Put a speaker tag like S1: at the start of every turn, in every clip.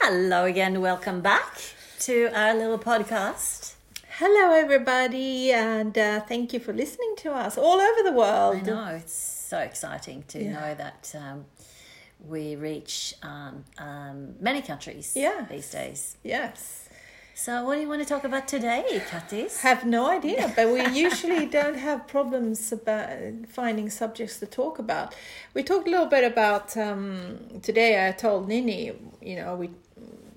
S1: Hello again. Welcome back to our little podcast.
S2: Hello, everybody, and uh, thank you for listening to us all over the
S1: I
S2: world.
S1: know it's so exciting to know that um, we reach um, um, many countries
S2: Yes.
S1: these days.
S2: Yes.
S1: So, what do you want to talk about today, Katis?
S2: Have no idea, but we usually don't have problems about finding subjects to talk about. We talked a little bit about um, today. I told Nini, you know, we,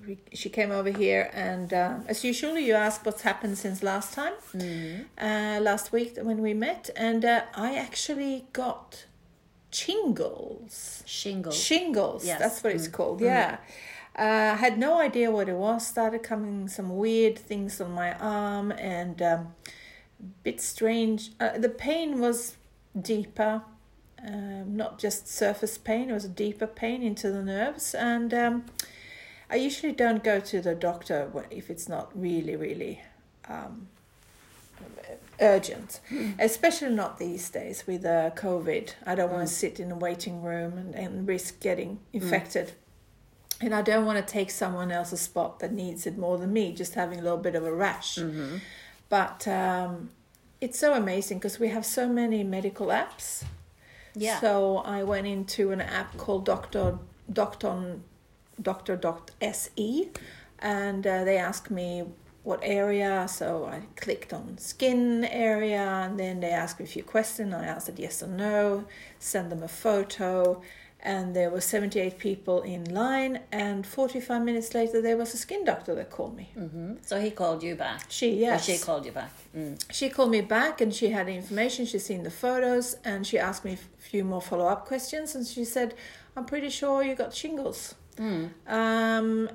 S2: we she came over here, and uh, as usual, you ask what's happened since last time,
S1: Mm-hmm.
S2: uh, last week when we met, and uh, I actually got chingles.
S1: Shingle.
S2: shingles.
S1: Yes.
S2: That's what it's called. Yeah. Uh, I had no idea what it was. Started coming some weird things on my arm and um, bit strange. Uh, the pain was deeper, um, not just surface pain. It was a deeper pain into the nerves. And um, I usually don't go to the doctor wh- if it's not really, really um, urgent, especially not these days with uh, COVID. I don't want to sit in a waiting room and, and risk getting infected. And I don't want to take someone else's spot that needs it more than me, just having a little bit of a rash. But um, it's so amazing because we have so many medical apps.
S1: Yeah.
S2: So I went into an app called Doctor Docton Doctor Dot SE, and uh, they asked me what area. So I clicked on skin area, and then they asked me a few questions. I answered yes or no, sent them a photo, and there were seventy eight people in line. And forty five minutes later, there was a skin doctor that called me.
S1: Mhm. So he called you back.
S2: She
S1: Or
S2: yes,
S1: she called you back. Mm.
S2: she called me back and she had information she's seen the photos and she asked me a few more follow-up questions and she said i'm pretty sure you got shingles um,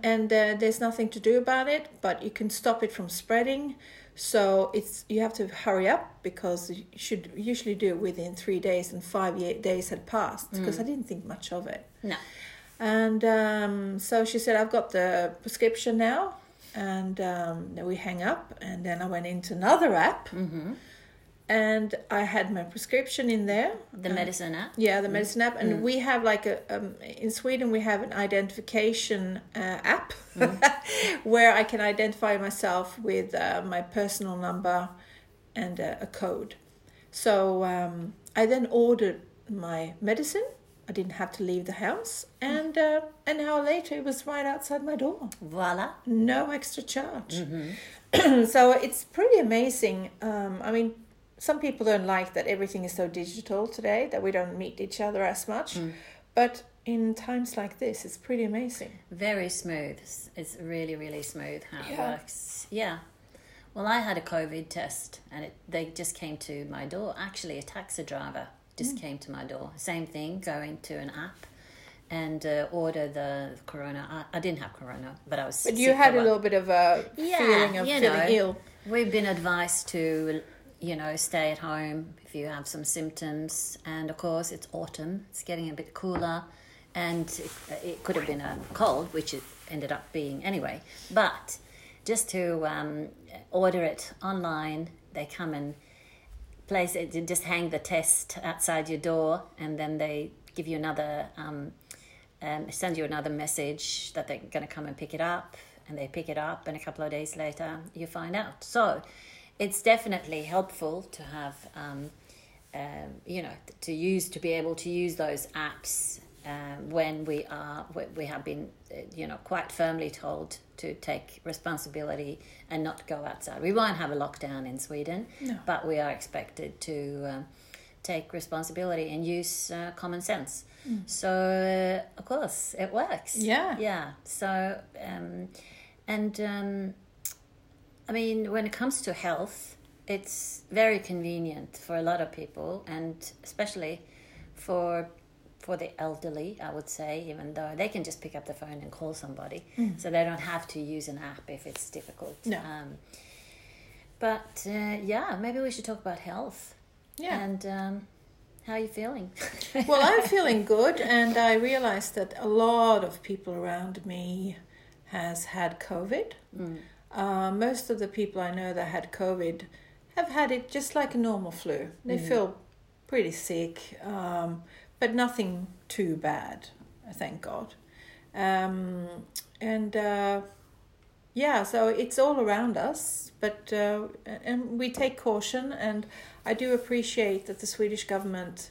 S2: and uh, there's nothing to do about it but you can stop it from spreading so it's you have to hurry up because you should usually do it within three days and five ye- days had passed because i didn't think much of it
S1: No.
S2: and um, so she said, I've got the prescription now. And um, then we hang up. And then I went into another app. And I had my prescription in there.
S1: The medicine app.
S2: Yeah, the medicine app. And we have like a, um, in Sweden, we have an identification uh, app where I can identify myself with uh, my personal number and uh, a code. So um, I then ordered my medicine. I didn't have to leave the house. And uh, an hour later, it was right outside my door
S1: Voila.
S2: no extra charge. so it's pretty amazing. Um, I mean, some people don't like that everything is so digital today, that we don't meet each other as much. But in times like this, it's pretty amazing.
S1: Very smooth. It's really, really smooth how it
S2: Yeah.
S1: works. Yeah. Well, I had a COVID test and it, they just came to my door. Actually, a taxi driver
S2: Hmm.
S1: just came to my door. Same thing, go into an app and uh, order the corona. I, I didn't have corona, but I was.
S2: But you
S1: sick for
S2: had a
S1: while.
S2: little bit of a
S1: Yeah,
S2: feeling of
S1: you
S2: feeling
S1: know.
S2: ill.
S1: We've been advised to, you know, stay at home if you have some symptoms. And of course, it's autumn, it's getting a bit cooler, and it, it could have been a cold, which it ended up being anyway. But just to um, order it online, they come and place it, you just hang the test outside your door, and then they give you another, um, um, send you another message that they're going to come and pick it up, and they pick it up, and a couple of days later you find out. So, it's definitely helpful to have, um, um, you know, to use to be able to use those apps um, when we are we- we have been, uh, you know, quite firmly told to take responsibility and not go outside. We won't have a lockdown in Sweden, but we are expected to um, take responsibility and use uh, common sense. So uh, of course it works.
S2: Yeah.
S1: yeah. So um, and um, I mean, when it comes to health, it's very convenient for a lot of people, and especially for for the elderly, I would say, even though they can just pick up the phone and call somebody, so they don't have to use an app if it's difficult.
S2: Mm. No.
S1: Um, but uh, yeah, maybe we should talk about health
S2: Yeah.
S1: and um, how are you feeling?
S2: well, I'm feeling good, and I realized that a lot of people around me has had COVID. Uh, most of the people I know that had COVID have had it just like a normal flu. They feel pretty sick, um, but nothing too bad, thank God. Um, and uh, yeah, so it's all around us, but uh, and we take caution. And I do appreciate that the Swedish government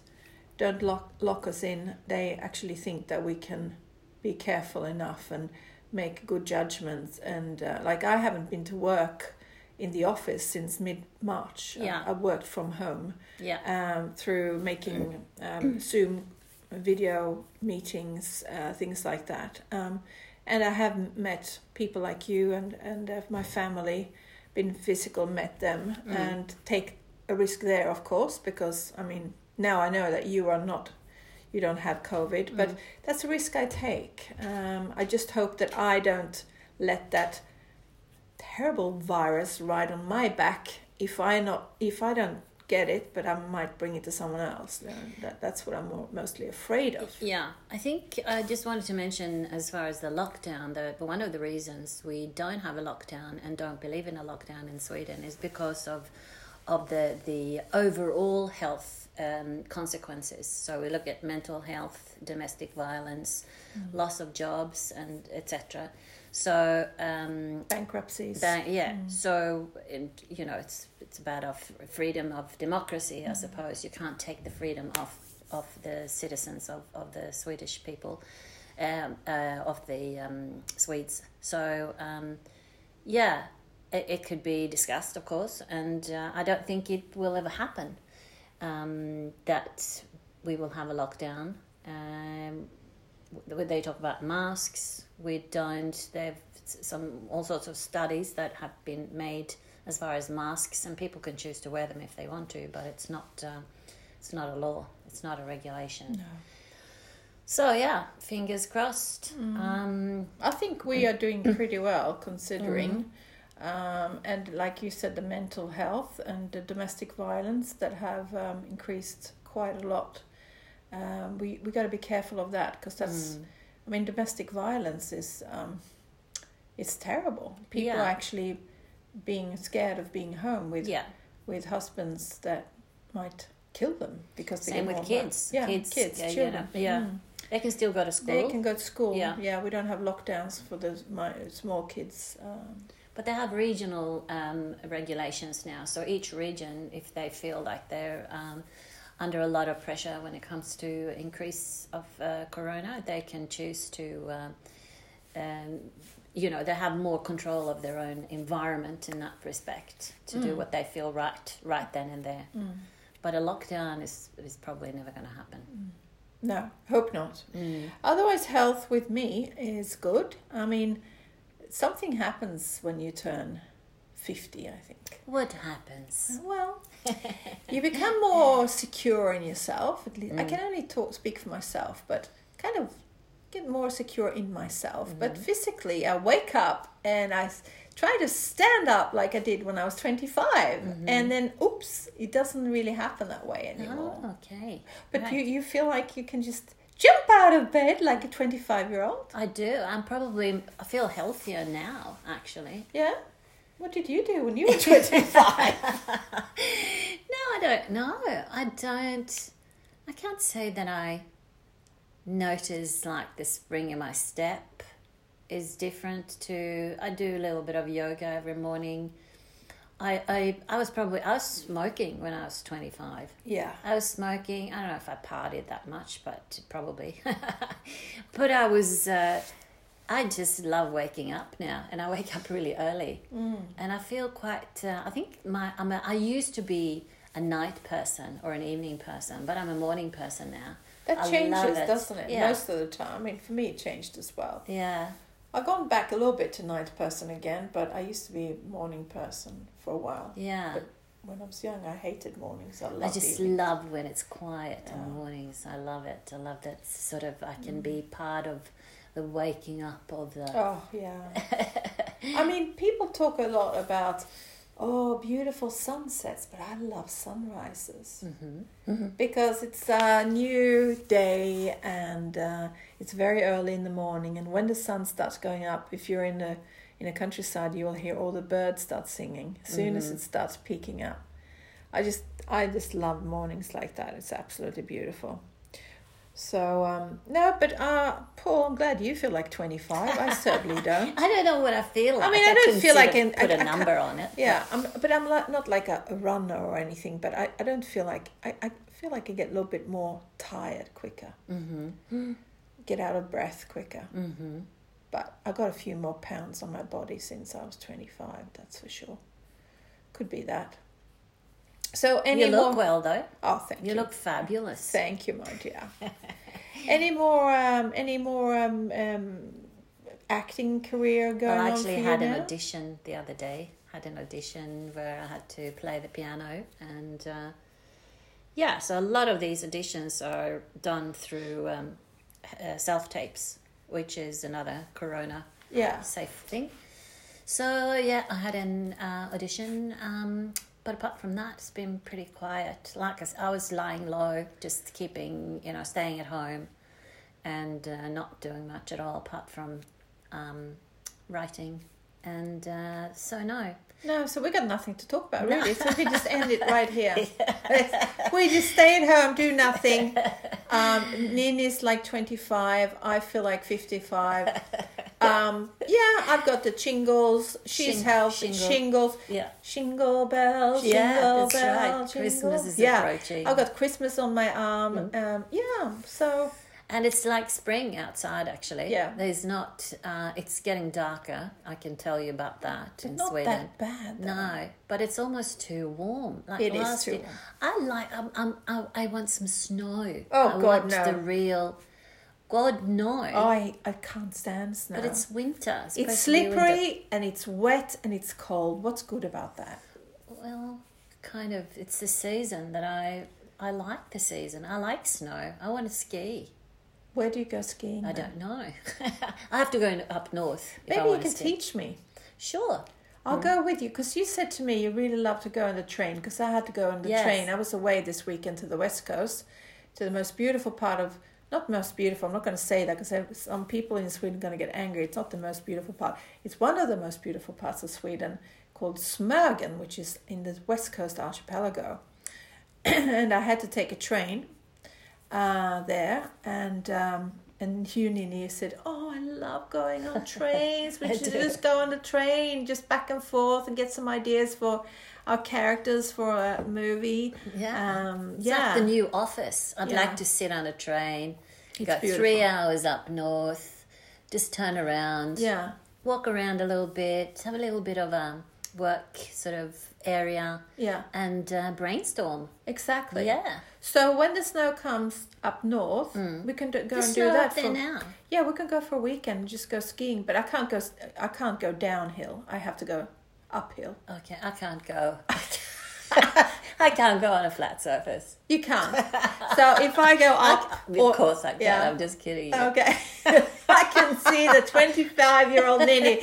S2: don't lock lock us in. They actually think that we can be careful enough and make good judgments. And uh, like I haven't been to work in the office since mid March.
S1: Yeah.
S2: I, I worked from home
S1: Yeah.
S2: um, through making um, Zoom video meetings, uh, things like that. Um, and I have met people like you and and uh, my family, been physical, met them, and take a risk there, of course, because I mean now I know that you are not. You don't have COVID, but that's a risk I take. Um, I just hope that I don't let that terrible virus ride on my back if I not if I don't get it, but I might bring it to someone else. Then That, that's what I'm mo- mostly afraid of.
S1: Yeah, I think I just wanted to mention as far as the lockdown, the one of the reasons we don't have a lockdown and don't believe in a lockdown in Sweden is because of of the the overall health um, consequences. So we look at mental health, domestic violence,
S2: Mm.
S1: loss of jobs, and etc. So um,
S2: Bankruptcies.
S1: that, yeah. So and, you know, it's it's about our f- freedom of democracy, I suppose. You can't take the freedom of of the citizens of, of the Swedish people, um, uh, of the um, Swedes. So um, yeah, it, it could be discussed, of course, and uh, I don't think it will ever happen um, that we will have a lockdown. Um, w- they talk about masks. We don't. They've s- some all sorts of studies that have been made as far as masks, and people can choose to wear them if they want to, but it's not. Uh, it's not a law. It's not a regulation.
S2: No.
S1: So yeah, fingers crossed.
S2: Mm.
S1: Um,
S2: I think we are doing pretty well considering. Um, and like you said, the mental health and the domestic violence that have um, increased quite a lot. Um, we we got to be careful of that because that's.
S1: mm,
S2: I mean, domestic violence is um, it's terrible. People
S1: Yeah.
S2: are actually being scared of being home with
S1: yeah.
S2: with husbands that might kill them because they
S1: Same
S2: get
S1: with
S2: more-
S1: kids.
S2: Yeah,
S1: Kids,
S2: kids,
S1: yeah, you
S2: children.
S1: know, yeah.
S2: Mm.
S1: They can still go to school.
S2: They can go to school.
S1: Yeah.
S2: Yeah, we don't have lockdowns for the my small kids. Um,
S1: But they have regional um, regulations now. So each region, if they feel like they're um, under a lot of pressure when it comes to increase of uh, corona, they can choose to, um um, you know, they have more control of their own environment in that respect to do what they feel right, right then and there.
S2: mm,
S1: But a lockdown is, is probably never going to happen.
S2: mm. no, hope not. Otherwise, health with me is good. I mean, something happens when you turn fifty. I think.
S1: What happens?
S2: Well, you become more secure in yourself. At least I
S1: Mm.
S2: can only talk speak for myself, but kind of get more secure in myself. But
S1: Mm.
S2: physically, I wake up and I s- try to stand up like I did when I was 25,
S1: Mm-hmm.
S2: and then oops, it doesn't really happen that way anymore.
S1: Oh, okay.
S2: but
S1: Right.
S2: you you feel like you can just jump out of bed like a 25 year old.
S1: I do. I'm probably, I feel healthier now, actually.
S2: Yeah. What did you do when you were 25?
S1: No, I don't. No, I don't. I can't say that I notice like the spring in my step is different to. I do a little bit of yoga every morning. I I, I was probably I was smoking when I was twenty five.
S2: yeah.
S1: I was smoking. I don't know if I partied that much, but probably. but I was. Uh, I just love waking up now, and I wake up really early, mm. and I feel quite. Uh, I think my I'm a, I used to be a night person or an evening person, but I'm a morning person now. I
S2: That
S1: love
S2: changes, doesn't it?
S1: Yeah,
S2: Most of the time. I mean, for me, it changed as well.
S1: yeah,
S2: I've gone back a little bit to night person again, but I used to be a morning person for a while.
S1: yeah.
S2: But when I was young, I hated mornings. I
S1: I
S2: loved
S1: just
S2: evening.
S1: love when it's quiet in
S2: Yeah.
S1: the mornings. I love it. I love that sort of. I can be part of the waking up of the.
S2: Oh yeah. I mean, people talk a lot about oh beautiful sunsets, but I love sunrises because it's a new day and uh, it's very early in the morning. And when the sun starts going up, if you're in a in a countryside, you will hear all the birds start singing as soon as it starts peaking up. I just I just love mornings like that. It's absolutely beautiful. So um, no, but uh, Paul, I'm glad you feel like 25. I certainly don't.
S1: I don't know what I feel like.
S2: I mean, I don't
S1: couldn't
S2: feel
S1: sort
S2: like
S1: of
S2: an- I-
S1: put a
S2: I can't-
S1: number on it.
S2: Yeah, I'm, but I'm li- not like a, a runner or anything. But I, I don't feel like I, I feel like I get a little bit more tired quicker. Mm-hmm. Get out of breath quicker. Mm-hmm. But I got a few more pounds on my body since I was 25. That's for sure. Could be that. So any
S1: You look
S2: more?
S1: well though.
S2: oh, thank you.
S1: You look fabulous.
S2: Thank you, my dear. any more? Um, any more? Um, um, acting career going
S1: I
S2: on for
S1: actually
S2: you
S1: had an
S2: now?
S1: audition the other day. Had an audition where I had to play the piano, and uh, yeah, so a lot of these auditions are done through um, uh, self tapes, which is another Corona
S2: Yeah.
S1: safe thing. So yeah, I had an uh, audition, um, but apart from that, it's been pretty quiet. Like I, s- I was lying low, just keeping you know staying at home, and uh, not doing much at all apart from um, writing, and uh, so no.
S2: No, so we got nothing to talk about really. So we just end it right here. We just stay at home, do nothing. Um, Nini's like twenty five. I feel like fifty five. Um, yeah, I've got the chingles. She's
S1: Shing-
S2: healthy.
S1: shingle.
S2: Shingles.
S1: Yeah.
S2: Shingle bells.
S1: Yeah,
S2: shingle
S1: that's
S2: bell,
S1: right.
S2: jingle.
S1: Christmas is
S2: yeah.
S1: approaching. Mm.
S2: I've got Christmas on my arm. Um, yeah. So
S1: And it's like spring outside, actually.
S2: Yeah.
S1: There's not, uh, it's getting darker. I can tell you about that in
S2: not
S1: Sweden.
S2: that bad. though.
S1: No, but it's almost too warm. Like
S2: It is
S1: last
S2: too
S1: year,
S2: warm.
S1: I like. Um, um, I, I want some snow.
S2: Oh,
S1: I
S2: God,
S1: want
S2: no.
S1: The real. God no.
S2: I I can't stand snow.
S1: But it's winter.
S2: it's
S1: especially winter.
S2: slippery and it's wet and it's cold. What's good about that?
S1: Well, kind of. It's the season that I. I like the season. I like snow. I want to ski.
S2: Where do you go skiing?
S1: I
S2: then?
S1: don't know. I have to go in, up north. If I
S2: Mm. Maybe you
S1: want
S2: can
S1: to ski.
S2: teach me.
S1: Sure.
S2: I'll
S1: Mm.
S2: go with you because you said to me you really love to go on the train because I had to go on the
S1: Yes.
S2: train. I was away this weekend to the west coast, to the most beautiful part of not most beautiful. I'm not going to say that because some people in Sweden are going to get angry. It's not the most beautiful part. It's one of the most beautiful parts of Sweden called Smögen, which is in the west coast archipelago. and I had to take a train uh, there and. Um, and you, Nini, said, "Oh, I love going on trains. We
S1: I
S2: should
S1: do.
S2: just go on the train, just back and forth, and get some ideas for our characters for a movie."
S1: Yeah.
S2: um,
S1: It's like
S2: yeah.
S1: the new office. I'd
S2: Yeah.
S1: like to sit on a train, go
S2: beautiful.
S1: three hours up north, just turn around,
S2: yeah,
S1: walk around a little bit, have a little bit of a work sort of area,
S2: yeah,
S1: and uh, brainstorm.
S2: exactly.
S1: Yeah.
S2: So when the snow comes up north, we can do, go
S1: There's
S2: and do
S1: snow
S2: that
S1: Mm. up there
S2: for.
S1: now.
S2: Yeah, we can go for a weekend and just go skiing. But I can't go. s- I can't go downhill. I have to go uphill.
S1: Okay, I can't go. I can't go on a flat surface.
S2: You can't. so if I go up,
S1: Of
S2: or-
S1: course I can.
S2: yeah. Uh,
S1: I'm just kidding you.
S2: Okay. I can see the 25 year old Nini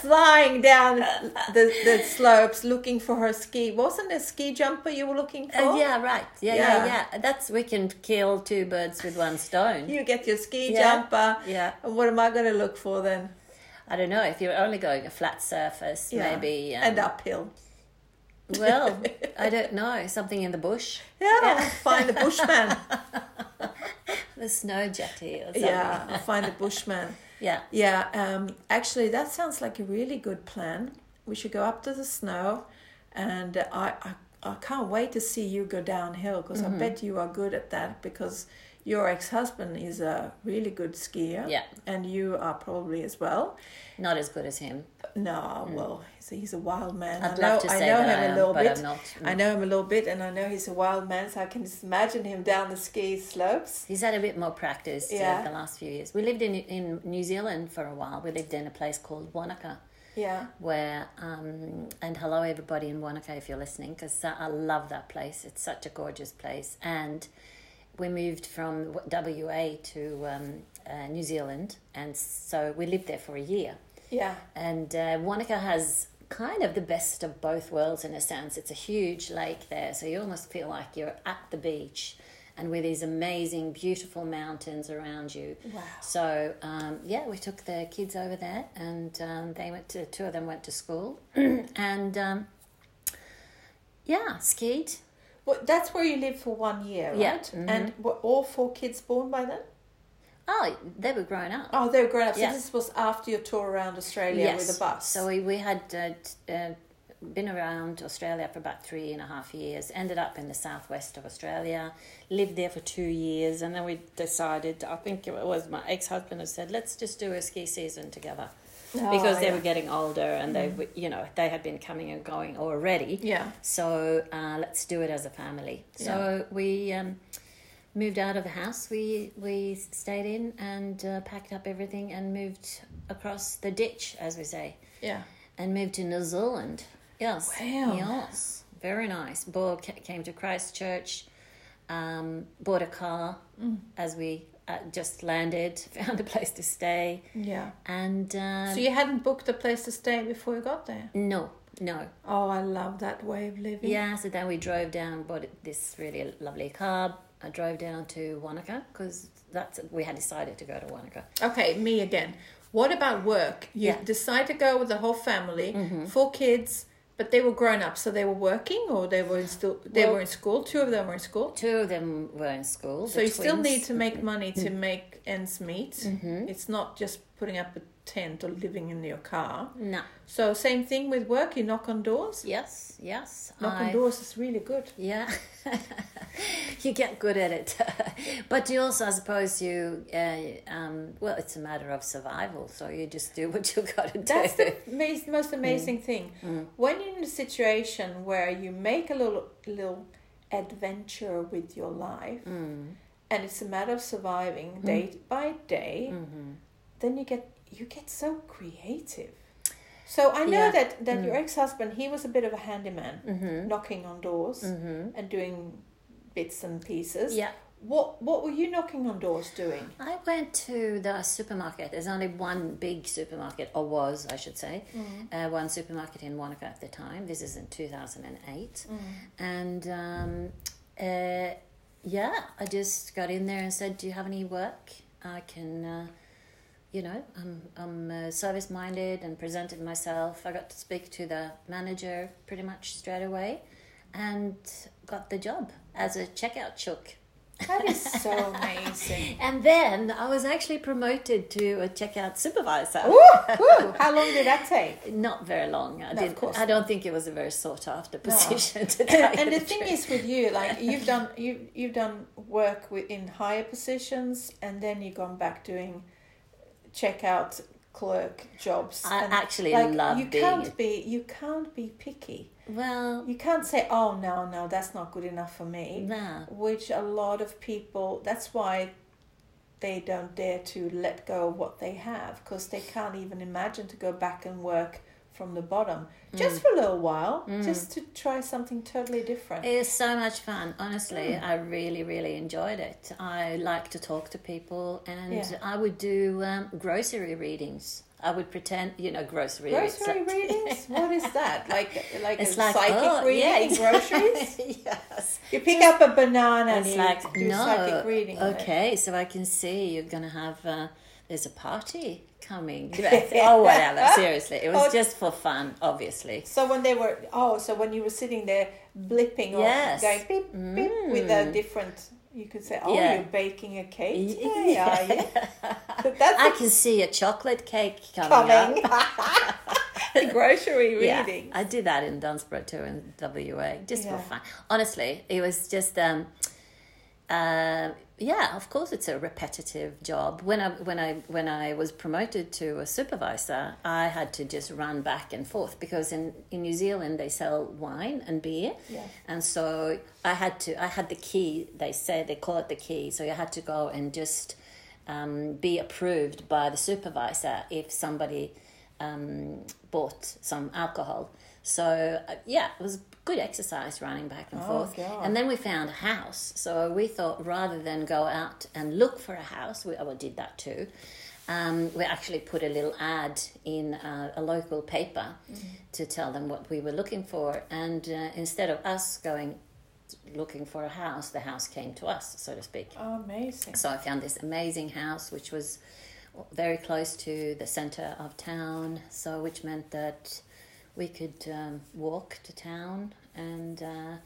S2: flying down the, the slopes looking for her ski. Wasn't it a ski jumper you were looking for?
S1: Uh, yeah, right. Yeah, yeah,
S2: Yeah.
S1: yeah, That's we can kill two birds with one stone.
S2: You get your ski
S1: Yeah.
S2: jumper.
S1: Yeah.
S2: And what am I going to look for then?
S1: I don't know if you're only going a flat surface,
S2: Yeah.
S1: maybe. um,
S2: And uphill.
S1: Well, I don't know. Something in the bush,
S2: Yeah, I'll find the bushman.
S1: the snow jetty or something.
S2: yeah, I'll find the bushman.
S1: yeah.
S2: Yeah, um, actually, that sounds like a really good plan. We should go up to the snow, and uh, I, I, I can't wait to see you go downhill because
S1: Mm-hmm.
S2: I bet you are good at that because your ex husband is a really good skier.
S1: Yeah.
S2: And you are probably as well.
S1: Not as good as him.
S2: No, well, he's a, he's a wild man.
S1: Mm. I'd
S2: I know,
S1: love to
S2: I
S1: say
S2: know
S1: that
S2: him
S1: I
S2: a
S1: am,
S2: little
S1: but
S2: bit.
S1: I'm not. Mm.
S2: I know him a little bit, and I know he's a wild man, so I can just imagine him down the ski slopes.
S1: He's had a bit more practice
S2: Yeah.
S1: uh, the last few years. We lived in in New Zealand for a while. We lived in a place called Wanaka,
S2: Yeah.
S1: where um, and hello everybody in Wanaka if you're listening, because I love that place. It's such a gorgeous place, and we moved from W- WA to um, uh, New Zealand, and so we lived there for a year.
S2: Yeah.
S1: And uh, Wanaka has kind of the best of both worlds in a sense. It's a huge lake there, so you almost feel like you're at the beach and with these amazing, beautiful mountains around you.
S2: Wow.
S1: So, um, yeah, we took the kids over there and um, they went to, two of them went to school and um, yeah, skied.
S2: Well, that's where you live for one year, right?
S1: Yeah, Mm-hmm.
S2: And were all four kids born by then?
S1: Oh, they were grown up.
S2: Oh, they were grown up.
S1: Yeah.
S2: So this was after your tour around Australia with a bus.
S1: So we, we had uh, t- uh, been around Australia for about three and a half years, ended up in the southwest of Australia, lived there for two years, and then we decided, I think it was my ex husband who said, let's just do a ski season together. because they
S2: Oh, yeah. Mm.
S1: were getting older and they were you know, they had been coming and going already.
S2: Yeah.
S1: So uh, let's do it as a family. So we um, moved out of the house we we stayed in and uh, packed up everything and moved across the ditch, as we say,
S2: Yeah.
S1: and moved to New Zealand. Yes.
S2: Wow.
S1: Yes. Very nice. Board ca- came to Christchurch, um, bought a car
S2: Mm.
S1: as we uh, just landed, found a place to stay,
S2: Yeah.
S1: and um,
S2: So you hadn't booked a place to stay before you got there.
S1: no, no,
S2: Oh, I love that way of living.
S1: Yeah, so then we drove down, bought this really lovely car. I drove down to Wanaka because that's we had decided to go to Wanaka.
S2: Okay, me again. What about work? You
S1: Yeah. Mm-hmm.
S2: decide to go with the whole family, four kids, but they were grown up, so they were working or they were in still they
S1: Well-
S2: were in school. Two of them were in school.
S1: Two of them were in school.
S2: So you still need to make money to make ends meet. It's not just putting up a tent or living in your car.
S1: no.
S2: So same thing with work. You knock on doors.
S1: Yes, yes.
S2: Knock
S1: I-
S2: on doors is really good.
S1: Yeah, you get good at it, but you also, I suppose, you uh, um, well, it's a matter of survival. So you just do what you got to do.
S2: That's the mas- most amazing thing. When you're in a situation where you make a little little adventure with your life, and it's a matter of surviving day by day, then you get you get so creative. So I know
S1: Yeah.
S2: that that your ex husband he was a bit of a handyman,
S1: Mm-hmm.
S2: knocking on doors and doing bits and pieces.
S1: Mm. Yeah.
S2: What what were you knocking on doors doing?
S1: I went to the supermarket. There's only one big supermarket, or was, I should say, uh, one supermarket in Wanaka at the time. This is in 2008.
S2: Mm.
S1: And um, uh, yeah, I just got in there and said, Do you have any work? I can, uh, you know, I'm, I'm uh, service minded and presented myself. I got to speak to the manager pretty much straight away and got the job as a checkout chook.
S2: That is so amazing.
S1: And then I was actually promoted to a checkout supervisor.
S2: Woo! How long did that take?
S1: Not very long. I
S2: No, of
S1: didn't.
S2: course
S1: I don't think it was a very sought after position. to tell you
S2: and the
S1: the
S2: thing
S1: truth.
S2: is with you like you've done you you've done work with, in higher positions and then you've gone back doing checkout clerk jobs
S1: I
S2: and,
S1: actually
S2: um, like,
S1: love
S2: you
S1: being-
S2: can't be you can't be picky
S1: well,
S2: you can't say oh no no that's not good enough for me
S1: No.
S2: which a lot of people that's why they don't dare to let go of what they have because they can't even imagine to go back and work from the bottom
S1: Mm.
S2: just for a little while just to try something totally different
S1: it was so much fun. Honestly,
S2: Hmm.
S1: I really, really enjoyed it. I like to talk to people, and
S2: Yeah.
S1: I would do um, grocery readings. I would pretend, you know, grocery. it's
S2: Grocery
S1: like-
S2: readings? What is that? Like like
S1: It's
S2: a
S1: like,
S2: psychic
S1: oh,
S2: reading
S1: yeah,
S2: in groceries?
S1: yes.
S2: You pick up a banana and
S1: It's
S2: you
S1: like
S2: do
S1: no.
S2: psychic reading. on it.
S1: okay, so I can see you're gonna have uh, there's a party coming. You know, oh whatever. Seriously, it was
S2: Oh.
S1: just for fun, obviously.
S2: So when they were oh, so when you were sitting there blipping or
S1: Yes. Mm.
S2: going beep beep with a different you could say, Oh,
S1: Yeah.
S2: you're baking a
S1: Y-
S2: cake today, are you? But That's
S1: I can see a chocolate cake coming. Up.
S2: coming. A grocery
S1: Yeah,
S2: reading.
S1: I did that in Dunsborough too in WA, just
S2: Yeah.
S1: for fun. Honestly, it was just um, uh, yeah. Of course, it's a repetitive job. When I when I when I was promoted to a supervisor, I had to just run back and forth because in in New Zealand they sell wine and beer,
S2: Yeah.
S1: and so I had to I had the key. They say they call it the key, so you had to go and just. Um, be approved by the supervisor if somebody um, bought some alcohol. So uh, yeah, it was good exercise running back and forth.
S2: God.
S1: And then we found a house. So we thought rather than go out and look for a house, we well, did that too. Um, we actually put a little ad in uh, a local paper to tell them what we were looking for. And uh, instead of us going looking for a house, the house came to us, so to speak.
S2: amazing.
S1: So I found this amazing house, which was very close to the center of town. So, which meant that we could um, walk to town and uh,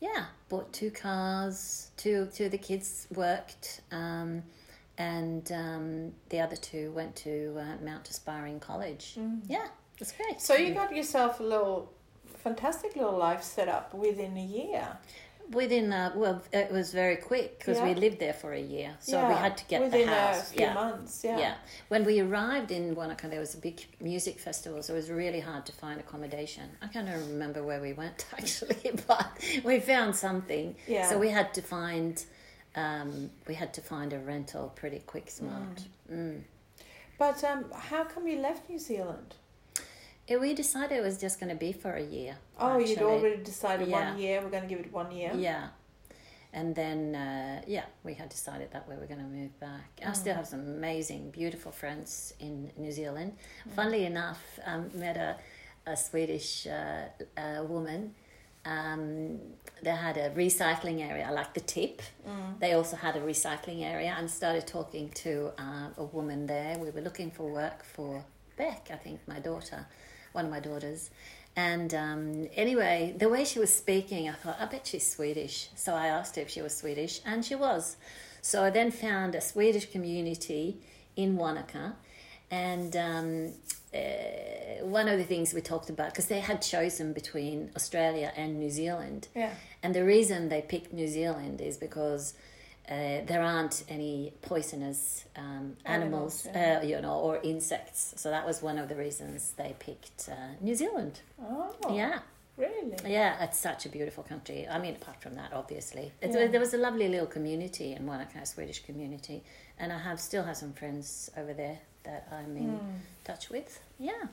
S1: yeah, bought two cars. Two two of the kids worked, um, and um, the other two went to uh, Mount Aspiring College. Yeah, that's great.
S2: So you got yourself a little fantastic little life set up within a year.
S1: Within uh, well, it was very quick because we
S2: Yeah.
S1: lived there for a year, so we
S2: Yeah,
S1: had to get
S2: within
S1: the house.
S2: a few
S1: yeah.
S2: months.
S1: Yeah.
S2: Yeah.
S1: When we arrived in Wanaka, there was a big music festival, so it was really hard to find accommodation. I can't even remember where we went actually, but we found something.
S2: Yeah.
S1: So we had to find, um, we had to find a rental pretty quick, smart.
S2: Mm.
S1: Mm.
S2: But um, how come you left New Zealand?
S1: Yeah, we decided it was just going to be for a year.
S2: Oh, you'd
S1: actually.
S2: already decided
S1: Yeah.
S2: one year. We're going to give it one year.
S1: Yeah. And then, uh, yeah, we had decided that we were going to move back. I still have some amazing, beautiful friends in New Zealand. Funnily enough, um, met a, a Swedish uh, uh, woman. Um, they had a recycling area, like the tip. They also had a recycling area and started talking to uh, a woman there. We were looking for work for Beck, I think, my daughter, one of my daughters. And um, anyway, the way she was speaking, I thought, I bet she's Swedish. So I asked her if she was Swedish, and she was. So I then found a Swedish community in Wanaka, and um, uh, one of the things we talked about, because they had chosen between Australia and New Zealand.
S2: Yeah.
S1: And the reason they picked New Zealand is because uh, there aren't any poisonous um, animals,
S2: Animals, yeah.
S1: uh, you know, or insects. So that was one of the reasons they picked uh, New Zealand.
S2: Oh.
S1: Yeah,
S2: Really?
S1: yeah, it's such a beautiful country. I mean, apart from that, obviously, It's
S2: Yeah.
S1: there was a lovely little community in Wanaka, a Swedish community, and I have still have some friends over there that I'm in
S2: Mm.
S1: touch with. Yeah,
S2: Hmm.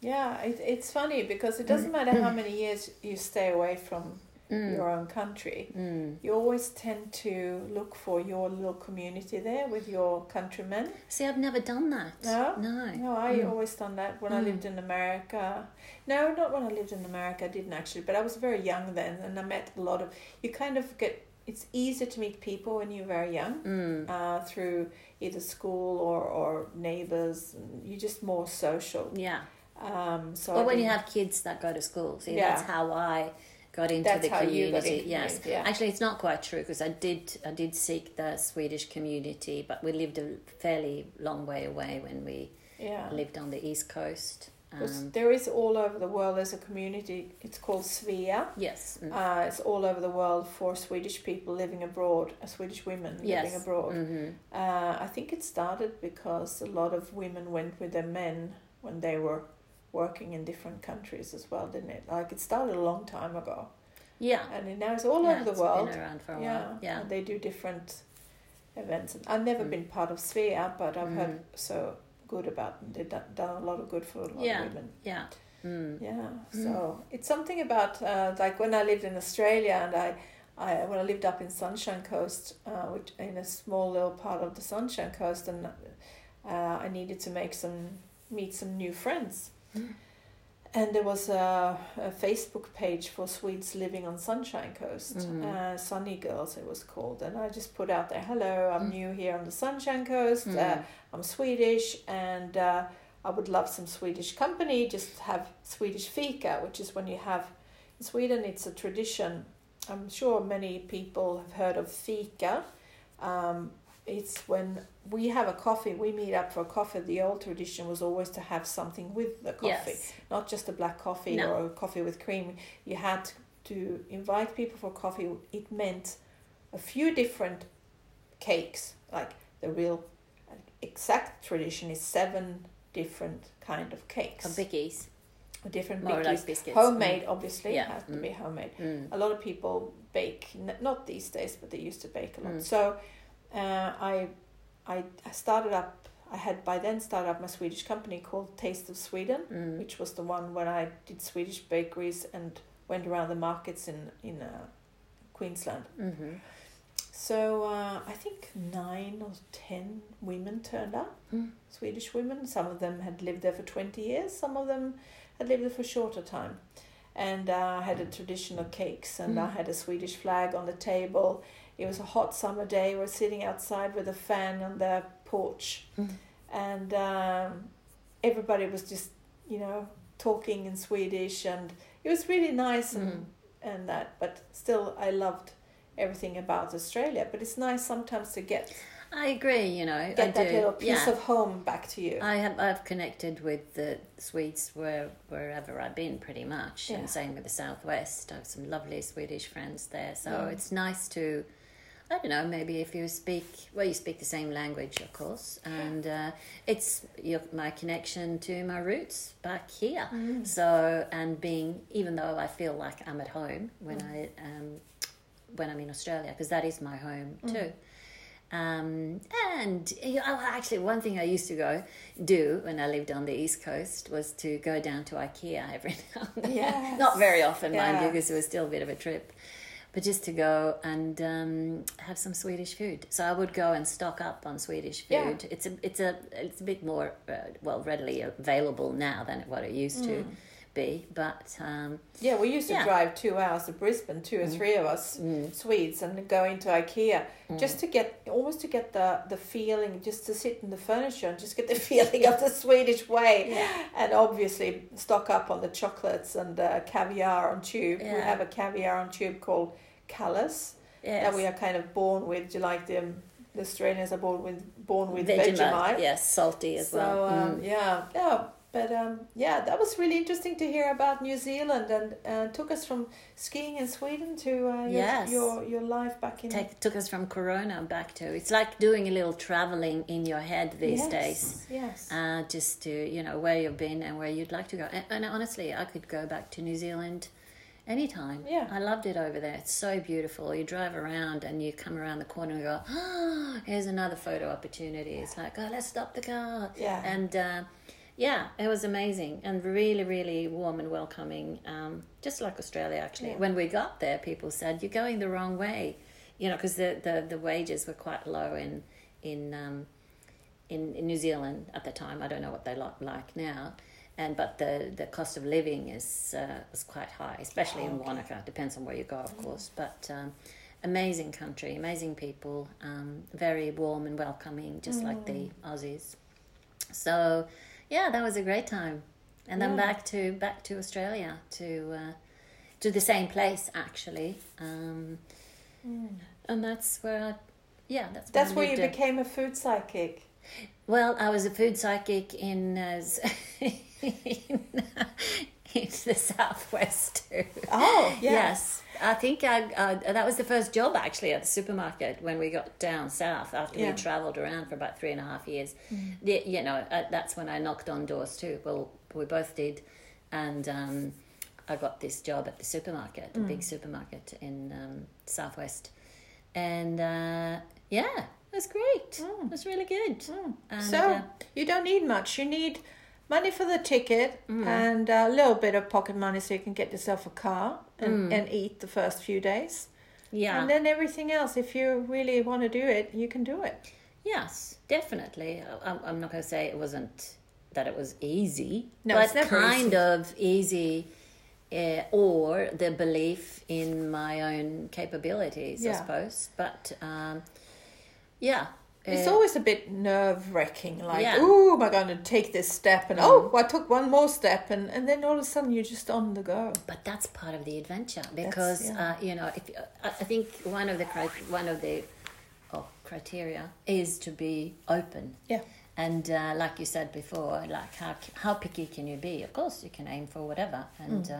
S2: Yeah, it, it's funny because
S1: Mm.
S2: it doesn't matter how many years you stay away from your own country,
S1: mm.
S2: you always tend to look for your little community there with your countrymen.
S1: see, I've never done that.
S2: No?
S1: no,
S2: No, I
S1: Mm.
S2: always done that when I
S1: Mm.
S2: lived in America. No, not when I lived in America, I didn't actually, but I was very young then and I met a lot of. You kind of get. It's easier to meet people when you're very young
S1: Mm.
S2: uh, through either school or, or neighbors. You're just more social.
S1: yeah.
S2: Um, so I
S1: Or when you
S2: didn't-
S1: have kids that go to school. See,
S2: Yeah.
S1: that's how I got into
S2: That's
S1: the
S2: how
S1: community.
S2: you got into
S1: yes,
S2: community, yeah.
S1: actually, it's not quite true because I did I did seek the Swedish community, but we lived a fairly long way away when we
S2: yeah.
S1: lived on the east coast.
S2: Because
S1: Um,
S2: there is all over the world. There's a community. It's called Svea.
S1: yes, mm,
S2: Uh, it's all over the world for Swedish people living abroad, uh, Swedish women living
S1: yes,
S2: abroad.
S1: mhm.
S2: Uh, I think it started because a lot of women went with their men when they were working in different countries as well, didn't it? Like it started a long time ago,
S1: yeah,
S2: and it- now it's all
S1: Uh, yeah,
S2: over the
S1: it's
S2: world.
S1: been around for a
S2: yeah,
S1: while. Yeah,
S2: and they do different events. And I've never
S1: Mm.
S2: been part of Svea, but I've heard
S1: Mm.
S2: so good about. Them. They've done- done a lot of good for a lot
S1: Yeah.
S2: of women.
S1: yeah. Mm.
S2: Yeah, so it's something about uh, like when I lived in Australia and I, I when I lived up in Sunshine Coast, uh, which in a small little part of the Sunshine Coast, and uh, I needed to make some meet some new friends,
S1: Mm.
S2: and there was a, a Facebook page for Swedes living on Sunshine Coast,
S1: Mhm.
S2: uh, Sunny Girls it was called, and I just put out there, hello, I'm new here on the Sunshine Coast. Uh,
S1: Mm.
S2: I'm Swedish and uh, I would love some Swedish company. Just have Swedish fika, which is when you have in Sweden, it's a tradition. I'm sure many people have heard of fika. Um, it's when we have a coffee, we meet up for a coffee. The old tradition was always to have something with the coffee,
S1: Yes,
S2: not just a black coffee
S1: No.
S2: or a coffee with cream. You had to invite people for coffee. It meant a few different cakes, like the real exact tradition is seven different kind of
S1: or
S2: cakes,
S1: biggies,
S2: different
S1: more
S2: biggies.
S1: like biscuits.
S2: Homemade, obviously,
S1: mm. Yeah.
S2: has to
S1: Mm.
S2: be homemade.
S1: Mm. Mm.
S2: A lot of people bake, n- not these days, but they used to bake a lot.
S1: Mm.
S2: So, uh, I, I, I started up. I had by then started up my Swedish company called Taste of Sweden,
S1: Mm.
S2: which was the one when I did Swedish bakeries and went around the markets in in uh, Queensland.
S1: Mm-hmm.
S2: So uh, I think nine or ten women turned up,
S1: Mm.
S2: Swedish women. Some of them had lived there for 20 years, some of them had lived there for a shorter time. And uh, I had a traditional cakes and I
S1: Mm.
S2: had a Swedish flag on the table. It was a hot summer day. We were sitting outside with a fan on the porch.
S1: Mm.
S2: And um, everybody was just, you know, talking in Swedish. And it was really nice and
S1: Mm.
S2: and that. But still, I loved everything about Australia. But it's nice sometimes to get
S1: I agree, you know.
S2: get
S1: I
S2: that
S1: do.
S2: little piece
S1: yeah.
S2: of home back to you.
S1: I have I've connected with the Swedes where wherever I've been pretty much,
S2: Yeah.
S1: and same with the Southwest. I have some lovely Swedish friends there, so
S2: Mm.
S1: it's nice to. I don't know. Maybe if you speak well, you speak the same language, of course, and uh, it's your, my connection to my roots back here.
S2: Mm.
S1: So and being, even though I feel like I'm at home when
S2: Mm.
S1: I um, when I'm in Australia, because that is my home
S2: Mm.
S1: too. Um, and you know, oh, actually, one thing I used to go do when I lived on the East Coast was to go down to IKEA every now and then.
S2: Yes.
S1: Not very often, mind you,
S2: Yeah.
S1: because it was still a bit of a trip. But just to go and um, have some Swedish food. So I would go and stock up on Swedish food.
S2: Yeah.
S1: It's a it's a it's a bit more uh, well readily available now than what it used to
S2: Mm.
S1: be. But um,
S2: Yeah, we used to
S1: Yeah. Mm.
S2: drive two hours to Brisbane, two or three of us Swedes, and go into IKEA Mm.
S1: Mm.
S2: just to get almost to get the the feeling, just to sit in the furniture and just get the feeling of the Swedish way, and obviously stock up on the chocolates and uh, caviar on tube. We
S1: Yeah.
S2: have a caviar on tube called Callas that we
S1: yes.
S2: are kind of born with, like the, the Australians are born with born with
S1: Vegemite,
S2: Vegemite
S1: yes, salty as
S2: so,
S1: well. Mm.
S2: um, yeah, yeah. But um, yeah, that was really interesting to hear about New Zealand and uh, took us from skiing in Sweden to uh, your,
S1: Yes.
S2: your your life back in
S1: take, took us from Corona back to it's like doing a little traveling in your head these
S2: Yes,
S1: days,
S2: Yes.
S1: uh, just to you know where you've been and where you'd like to go. And, and honestly, I could go back to New Zealand anytime.
S2: Yeah.
S1: I loved it over there. It's so beautiful. You drive around and you come around the corner and go, oh, here's another photo opportunity. It's like, oh, let's stop the car.
S2: Yeah.
S1: And uh, yeah, it was amazing and really, really warm and welcoming. Um, just like Australia, actually.
S2: Yeah.
S1: When we got there, people said, "You're going the wrong way," you know, because the, the the wages were quite low in in um, in, in New Zealand at the time. I don't know what they look like now. And but the, the cost of living is uh, is quite high, especially
S2: Oh,
S1: in Wanaka. It depends on where you go, of course. But um, amazing country, amazing people, um, very warm and welcoming, just like
S2: Mm.
S1: the Aussies. So, yeah, that was a great time. And then
S2: Yeah.
S1: back to back to Australia to uh, to the same place actually. Um, And that's where I, yeah, that's where
S2: Mm. That's
S1: I
S2: where you
S1: lived in.
S2: became a food psychic.
S1: Well, I was a food psychic in uh, s- in, uh, in the southwest too.
S2: Oh yes.
S1: Yes, I think I, I that was the first job actually at the supermarket when we got down south after
S2: Yeah. Mm.
S1: we travelled around for about three and a half years. The, you know, uh, that's when I knocked on doors too. Well, we both did, and um, I got this job at the supermarket, a
S2: Mm.
S1: big supermarket in um, southwest, and uh, yeah, it was great. It was really good. And,
S2: Mm. So
S1: uh,
S2: you don't need much. You need money for the ticket
S1: Mm.
S2: and a little bit of pocket money so you can get yourself a car and, and eat the first few days.
S1: Mm. yeah.
S2: And then everything else, if you really want to do it, you can do it.
S1: Yes, definitely. I- I'm, I'm not going to say it wasn't that it was easy,
S2: No,
S1: but
S2: it's never
S1: kind
S2: easy.
S1: of easy, uh, or the belief in my own capabilities, I
S2: Yeah.
S1: suppose. But um, yeah,
S2: It's
S1: uh,
S2: always a bit nerve wracking, like,
S1: Yeah.
S2: ooh, am I going to take this step? And oh, I took one more step. And, and then all of a sudden you're just on the go.
S1: but that's part of the adventure because
S2: yeah.
S1: uh, you know if I I think one of the cri- one of the oh, criteria is to be open.
S2: Yeah.
S1: And uh, like you said before, like how how picky can you be? Of course, you can aim for whatever, and uh,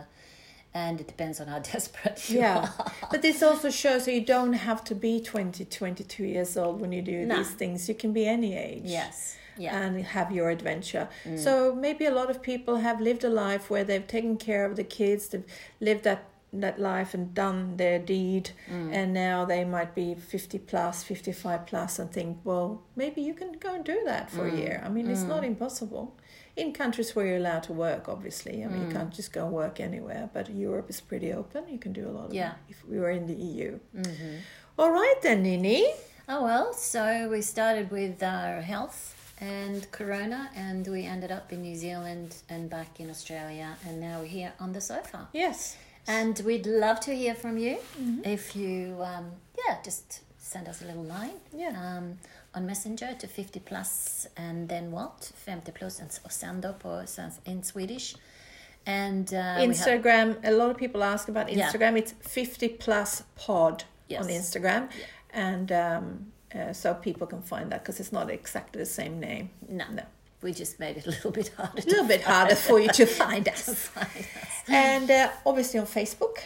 S1: and it depends on how desperate you
S2: Yeah.
S1: are.
S2: but this also shows that you don't have to be 20, 22 years old when you do
S1: No.
S2: these things. You can be any age.
S1: Yes. Yeah. Mm.
S2: and have your adventure. So maybe a lot of people have lived a life where they've taken care of the kids, they've lived that that life and done their deed
S1: Mm.
S2: and now they might be 50 plus 55 plus and think well maybe you can go and do that for
S1: Mm.
S2: a year i mean it's not impossible in countries where you're allowed to work obviously i mean
S1: Mm.
S2: you can't just go and work anywhere but europe is pretty open you can do a lot of
S1: Yeah. Mm-hmm.
S2: if we were in the eu All right then nini
S1: oh well. So we started with our health and Corona, and we ended up in New Zealand and back in Australia, and now we're here on the sofa.
S2: yes
S1: And we'd love to hear from you.
S2: Mm-hmm.
S1: If you, um, yeah, just send us a little line
S2: Yeah.
S1: um, on Messenger to 50 plus and then what? 50 plus and, och sen då på, svensk- in Swedish. And uh, we have-
S2: Instagram. A lot of people ask about
S1: Yeah.
S2: Instagram. It's fifty plus pod on
S1: Yes.
S2: Instagram, and um, uh, so people can find that because it's not exactly the same name.
S1: No.
S2: no,
S1: we just made it a little bit harder
S2: a
S1: to
S2: little bit harder for you to find us.
S1: find.
S2: And uh, obviously on Facebook,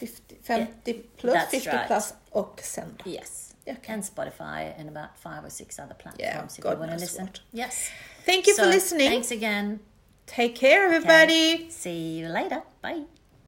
S2: 50, 50 plus,
S1: that's
S2: 50
S1: right.
S2: plus och sen.
S1: Yes.
S2: Okay.
S1: And Spotify and about five or six other platforms if
S2: God
S1: you want to
S2: knows
S1: listen.
S2: what.
S1: Yes.
S2: Thank you for
S1: So,
S2: listening.
S1: Thanks again.
S2: Take care, everybody.
S1: See you later. Bye.